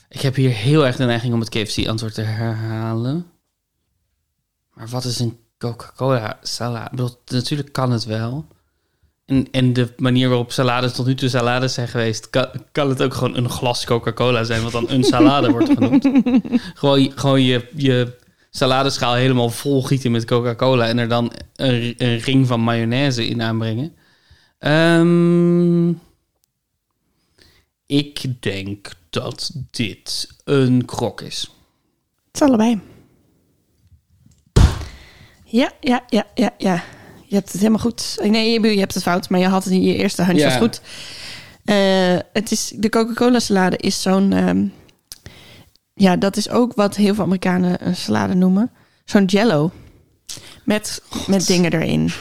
Speaker 1: Ik heb hier heel erg de neiging om het KFC-antwoord te herhalen. Maar wat is een Coca-Cola salade? Ik bedoel, natuurlijk kan het wel. En, en de manier waarop salades tot nu toe salades zijn geweest... kan, kan het ook gewoon een glas Coca-Cola zijn... wat dan een salade wordt genoemd. Gewoon, je- gewoon je, je saladeschaal helemaal vol gieten met Coca-Cola... en er dan een, een ring van mayonaise in aanbrengen. Ehm... Ik denk dat dit een krok is.
Speaker 2: Het is allebei. Ja, ja, ja, ja, ja. Je hebt het helemaal goed. Nee, je- je hebt het fout, maar je had het in je eerste handje
Speaker 1: Ja.
Speaker 2: was goed. Eh, het is, de Coca-Cola salade is zo'n... ehm, ja, dat is ook wat heel veel Amerikanen een salade noemen. Zo'n jello. Met, met dingen erin.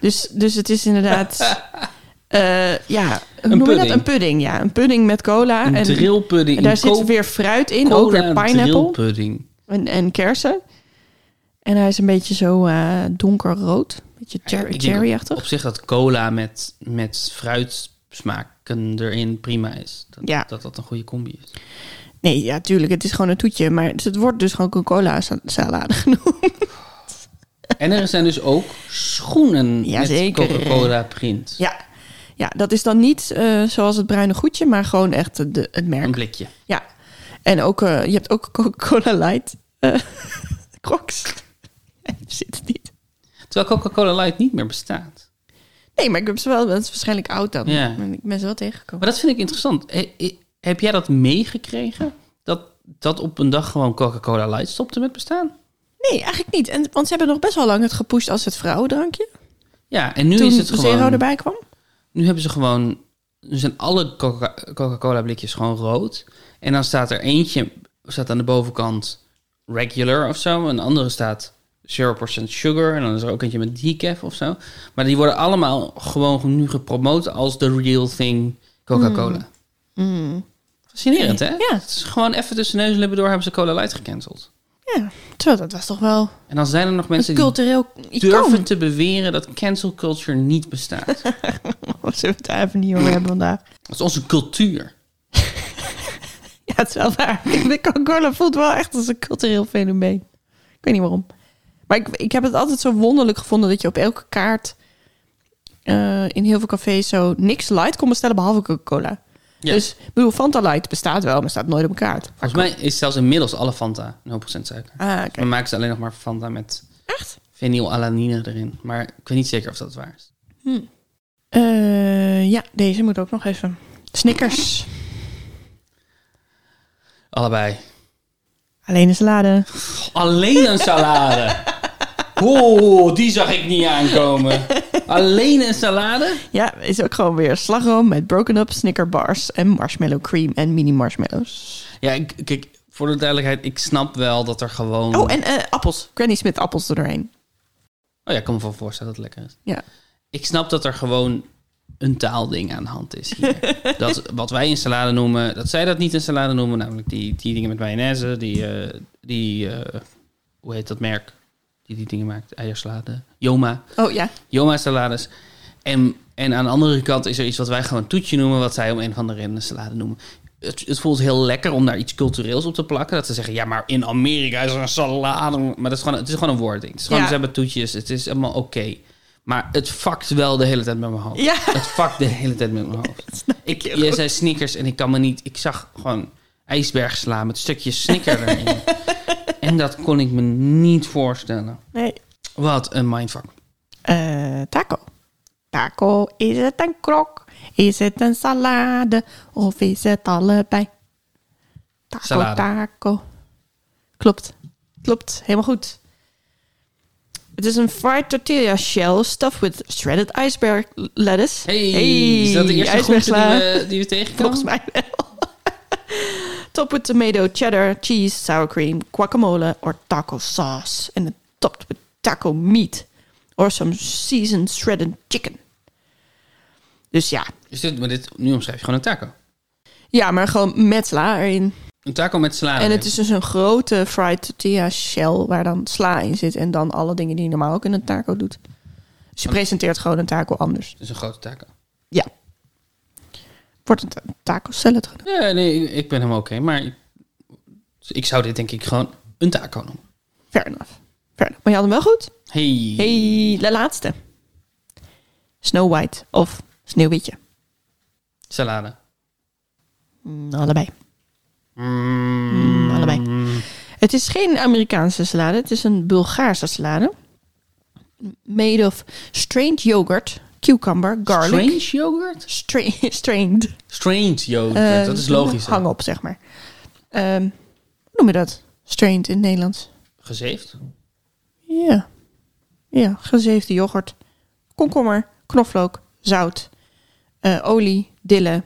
Speaker 2: Dus, dus het is inderdaad... eh, ja, hoe noem je dat?
Speaker 1: pudding.
Speaker 2: Een pudding, ja. Een pudding met cola.
Speaker 1: Een
Speaker 2: en,
Speaker 1: drillpudding.
Speaker 2: en daar
Speaker 1: in
Speaker 2: zit
Speaker 1: cola
Speaker 2: weer fruit in. Ook weer
Speaker 1: en
Speaker 2: pineapple
Speaker 1: drillpudding.
Speaker 2: en, en kersen. En hij is een beetje zo eh, donkerrood. Beetje
Speaker 1: Ik
Speaker 2: cher-
Speaker 1: denk
Speaker 2: cherry-achtig.
Speaker 1: Op zich dat cola met, met fruitsmaken erin prima is. Dat,
Speaker 2: Ja.
Speaker 1: dat dat een goede combi is.
Speaker 2: Nee, ja, tuurlijk. Het is gewoon een toetje. Maar het het wordt dus gewoon Coca-Cola-salade genoemd.
Speaker 1: En er zijn dus ook schoenen met
Speaker 2: Jazeker.
Speaker 1: Coca-Cola print.
Speaker 2: Ja. ja, dat is dan niet eh, zoals het bruine goedje, maar gewoon echt de- de, het merk.
Speaker 1: Een blikje.
Speaker 2: Ja. En ook, eh, je hebt ook Coca-Cola Light. eh Crocs. Nee, daar zit het niet.
Speaker 1: Terwijl Coca-Cola Light niet meer bestaat.
Speaker 2: Nee, maar ik heb ze wel. Het is waarschijnlijk oud dan.
Speaker 1: Ja.
Speaker 2: Maar Ik ben ze wel tegengekomen.
Speaker 1: Maar dat vind ik interessant. He- he- heb jij dat meegekregen? Dat, dat op een dag gewoon Coca-Cola Light stopte met bestaan?
Speaker 2: Nee, eigenlijk niet. En, want ze hebben nog best wel lang het gepusht als het vrouwendrankje.
Speaker 1: Ja, en nu
Speaker 2: toen
Speaker 1: is het gewoon...
Speaker 2: Zero erbij kwam.
Speaker 1: Nu hebben ze gewoon. Nu zijn alle Coca- Coca-Cola blikjes gewoon rood. En dan staat er eentje staat aan de bovenkant regular of zo. En de andere staat 0% sugar. En dan is er ook eentje met decaf of zo. Maar die worden allemaal gewoon nu gepromoot als the real thing Coca-Cola. Fascinerend, hè?
Speaker 2: Mm. Ja.
Speaker 1: Het is gewoon even tussen neus en lippen door hebben ze Cola Light gecanceld.
Speaker 2: Ja, terwijl dat was toch wel
Speaker 1: En dan zijn er nog mensen
Speaker 2: een
Speaker 1: die
Speaker 2: cultureel icoon.
Speaker 1: durven te beweren dat cancel culture niet bestaat.
Speaker 2: Zullen we het daar even niet over hebben vandaag?
Speaker 1: dat is onze cultuur.
Speaker 2: Ja, het is wel waar. De Coca-Cola voelt wel echt als een cultureel fenomeen. Ik weet niet waarom. Maar ik, ik heb het altijd zo wonderlijk gevonden dat je op elke kaart eh, in heel veel cafés zo niks light kon bestellen behalve Coca-Cola.
Speaker 1: Ja.
Speaker 2: Dus ik bedoel, Fanta Light bestaat wel, maar staat nooit op een kaart.
Speaker 1: Volgens mij is zelfs inmiddels alle Fanta 0% suiker.
Speaker 2: Ah, oké.
Speaker 1: We maken ze alleen nog maar Fanta met
Speaker 2: Echt?
Speaker 1: fenylalanine erin. Maar ik weet niet zeker of dat waar is. Hmm.
Speaker 2: Eh, ja, deze moet ook nog even. Snickers.
Speaker 1: Allebei.
Speaker 2: Alleen een salade.
Speaker 1: Alleen een salade. Oeh, die zag ik niet aankomen. Alleen een salade?
Speaker 2: Ja, is ook gewoon weer slagroom met broken up snickerbars en marshmallow cream en mini marshmallows.
Speaker 1: Ja, ik, kijk, voor de duidelijkheid, ik snap wel dat er gewoon...
Speaker 2: Oh, en eh, appels. Granny Smith appels er doorheen.
Speaker 1: Oh ja, ik kan me wel voorstellen dat het lekker is.
Speaker 2: Ja.
Speaker 1: Ik snap dat er gewoon een taalding aan de hand is hier. dat, wat wij in salade noemen, dat zij dat niet in salade noemen. Namelijk die, die dingen met mayonaise, die, eh, die eh, hoe heet dat merk? Die die dingen maakt, eiersalade. Joma.
Speaker 2: Oh ja.
Speaker 1: Joma salades. En, en aan de andere kant is er iets wat wij gewoon toetje noemen, wat zij om een van de redenen salade noemen. Het, het voelt heel lekker om daar iets cultureels op te plakken. Dat ze zeggen, ja, maar in Amerika is er een salade. Maar dat is gewoon, het is gewoon een woordding. Het is gewoon,
Speaker 2: Ja.
Speaker 1: ze hebben toetjes. Het is allemaal oké. Maar het fuckt wel de hele tijd met mijn hoofd.
Speaker 2: Ja.
Speaker 1: Het fuckt de hele tijd met mijn hoofd. Ik,
Speaker 2: heel
Speaker 1: je
Speaker 2: goed.
Speaker 1: zei sneakers en ik kan me niet... Ik zag gewoon ijsberg slaan met stukjes snicker erin. en dat kon ik me niet voorstellen.
Speaker 2: Nee.
Speaker 1: Wat een mindfuck.
Speaker 2: Eh, taco. Taco, is het een krok? Is het een salade? Of is het allebei? Taco,
Speaker 1: Salade.
Speaker 2: taco. Klopt. Klopt. Helemaal goed. Het is een fried tortilla shell stuffed with shredded iceberg lettuce.
Speaker 1: Hey, is dat de eerste groente die
Speaker 2: ijsbergsla.
Speaker 1: we, eh, die we tegenkomen?
Speaker 2: Volgens mij wel. Top with tomato, cheddar, cheese, sour cream, guacamole or taco sauce. And then topped with taco meat. Or some seasoned shredded chicken. Dus ja.
Speaker 1: Is dit, maar dit, nu omschrijf je gewoon een taco.
Speaker 2: Ja, maar gewoon met sla erin.
Speaker 1: Een taco met salade.
Speaker 2: en het is dus een grote fried tortilla shell waar dan sla in zit. En dan alle dingen die je normaal ook in een taco doet. Dus je presenteert gewoon een taco anders.
Speaker 1: Dus een grote taco.
Speaker 2: Ja. Wordt een ta- taco salad genoemd.
Speaker 1: Ja, nee, ik- ik ben helemaal oké. maar ik, ik zou dit denk ik gewoon een taco noemen.
Speaker 2: Fair enough. Fair enough. Maar je had hem wel goed?
Speaker 1: Hey.
Speaker 2: Hey, de laatste. Snow White of Sneeuwwitje.
Speaker 1: Salade.
Speaker 2: Mm, Allebei. Mm, allebei. Het is geen Amerikaanse salade. Het is een Bulgaarse salade. Made of strained yogurt, cucumber, garlic.
Speaker 1: Strange yogurt?
Speaker 2: Stra- strained.
Speaker 1: Strange yogurt.
Speaker 2: Eh,
Speaker 1: dat is logisch. hè?
Speaker 2: Hang op, zeg maar. Ehm, hoe noem je dat? Strained in het Nederlands.
Speaker 1: Gezeefd?
Speaker 2: Ja. Ja, gezeefde yoghurt. Komkommer, knoflook, zout, eh, olie, dille,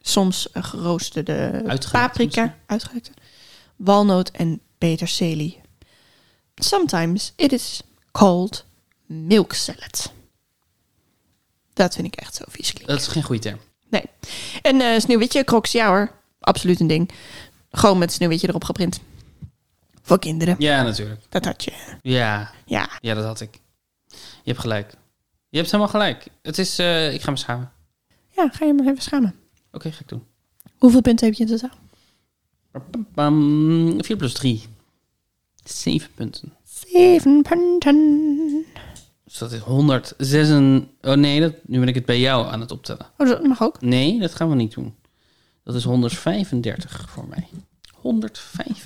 Speaker 2: soms eh, geroosterde paprika, uitgehaakte, walnoot en peterselie. Sometimes it is called milk salad. Dat vind ik echt zo vies klinken.
Speaker 1: Dat is geen goede term.
Speaker 2: Nee. En eh, sneeuwwitje, crocs, ja hoor. Absoluut een ding. Gewoon met sneeuwwitje erop geprint. Voor kinderen.
Speaker 1: Ja, natuurlijk.
Speaker 2: Dat had je.
Speaker 1: Ja,
Speaker 2: Ja.
Speaker 1: ja dat had ik. Je hebt gelijk. Je hebt helemaal gelijk. Het is, eh, ik ga me schamen.
Speaker 2: Ja, ga je maar even schamen.
Speaker 1: Oké, ga ik doen.
Speaker 2: Hoeveel punten heb je in totaal?
Speaker 1: Bam, 4 plus 3. 7 punten.
Speaker 2: Zeven punten.
Speaker 1: Dus dat is 106. en- Oh nee, dat, nu ben ik het bij jou aan het optellen.
Speaker 2: Oh, dat mag ook.
Speaker 1: Nee, dat gaan we niet doen. Dat is 135 voor mij.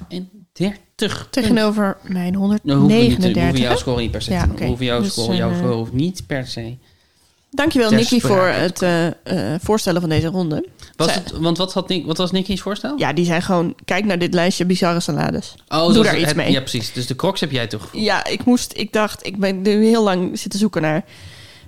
Speaker 1: 135.
Speaker 2: Tegenover mijn
Speaker 1: Nou, hoeven we niet te- we hoeven
Speaker 2: 139.
Speaker 1: jouw score niet per se
Speaker 2: Ja,
Speaker 1: te doen.
Speaker 2: oké.
Speaker 1: We hoeven jouw
Speaker 2: Dus,
Speaker 1: score, jouw
Speaker 2: eh,
Speaker 1: score hoeft niet per se.
Speaker 2: Dankjewel,
Speaker 1: Ter
Speaker 2: Nicky,
Speaker 1: sprake.
Speaker 2: voor het eh, eh, voorstellen van deze ronde.
Speaker 1: Was
Speaker 2: Zij-
Speaker 1: het, want wat, had Nick, wat was Nicky's voorstel?
Speaker 2: Ja, die zijn gewoon... Kijk naar dit lijstje bizarre salades. Doe
Speaker 1: zoals
Speaker 2: daar
Speaker 1: Oh, het-
Speaker 2: iets mee.
Speaker 1: Ja, precies. Dus de crocs heb jij toegevoegd.
Speaker 2: Ja, ik moest, ik dacht, ik ben nu heel lang zitten zoeken naar.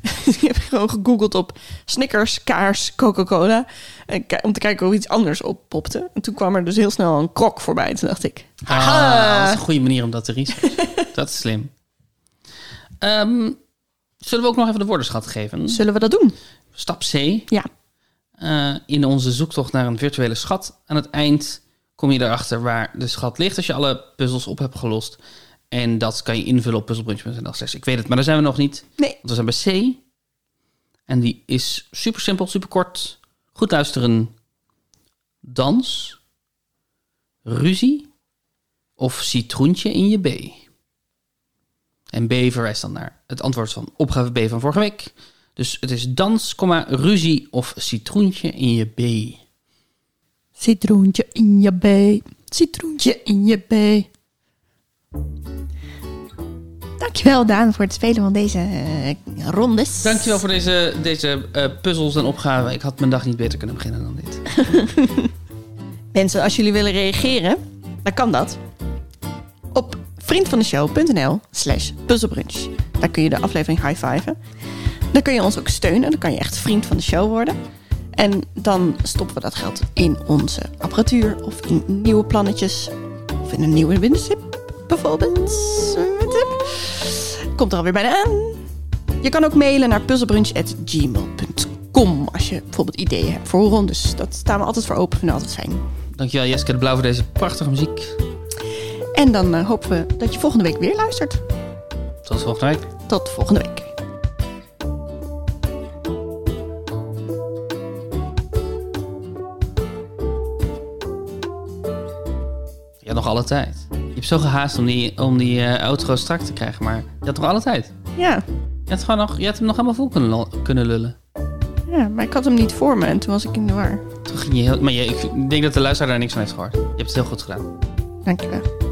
Speaker 2: ik heb gewoon gegoogeld op Snickers, kaars, Coca-Cola. En ki- Om te kijken hoe iets anders oppopte. En toen kwam er dus heel snel een krok voorbij. Toen dacht ik,
Speaker 1: Ah, dat is
Speaker 2: haha.
Speaker 1: een goede manier om dat te researchen. dat is slim. Ehm, zullen we ook nog even de woordenschat geven?
Speaker 2: Zullen we dat doen?
Speaker 1: Stap C.
Speaker 2: Ja.
Speaker 1: Eh, in onze zoektocht naar een virtuele schat. Aan het eind kom je erachter waar de schat ligt als je alle puzzels op hebt gelost. En dat kan je invullen op puzzelbrunch.nl. slash Ik weet het, maar daar zijn we nog niet.
Speaker 2: Nee.
Speaker 1: Want we zijn bij C. En die is super simpel, super kort. Goed luisteren. Dans. Ruzie. Of citroentje in je B. En B verwijst dan naar het antwoord van opgave B van vorige week. Dus het is dans, comma, ruzie of citroentje in je B.
Speaker 2: Citroentje in je bij. Citroentje in je bij. Dankjewel, Daan, voor het spelen van deze eh, rondes.
Speaker 1: Dankjewel voor deze, deze eh, puzzels en opgaven. Ik had mijn dag niet beter kunnen beginnen dan dit.
Speaker 2: Mensen, als jullie willen reageren, dan kan dat op vriendvandeshow.nl slash puzzelbrunch. Daar kun je de aflevering high-fiven. Dan kun je ons ook steunen. Dan kan je echt vriend van de show worden. En dan stoppen we dat geld in onze apparatuur of in nieuwe plannetjes. Of in een nieuwe windsip bijvoorbeeld. Windsip. Komt er alweer bijna aan. Je kan ook mailen naar puzzelbrunch.gmail.com als je bijvoorbeeld ideeën hebt voor rondes. Dat staan we altijd voor open, vinden we altijd fijn.
Speaker 1: Dankjewel Jeske de Blauw voor deze prachtige muziek.
Speaker 2: En dan eh, hopen we dat je volgende week weer luistert.
Speaker 1: Tot volgende week.
Speaker 2: Tot volgende week.
Speaker 1: Je had nog alle tijd. Je hebt zo gehaast om die, om die eh, outro strak te krijgen, maar je had nog alle tijd.
Speaker 2: Ja,
Speaker 1: Je had, gewoon nog, je had hem nog helemaal vol kunnen, lo- kunnen lullen.
Speaker 2: ja, maar ik had hem niet voor me en toen was ik in de war.
Speaker 1: Toen ging je heel, maar je, ik denk dat de luisteraar daar niks van heeft gehoord. Je hebt het heel goed gedaan.
Speaker 2: Dankjewel.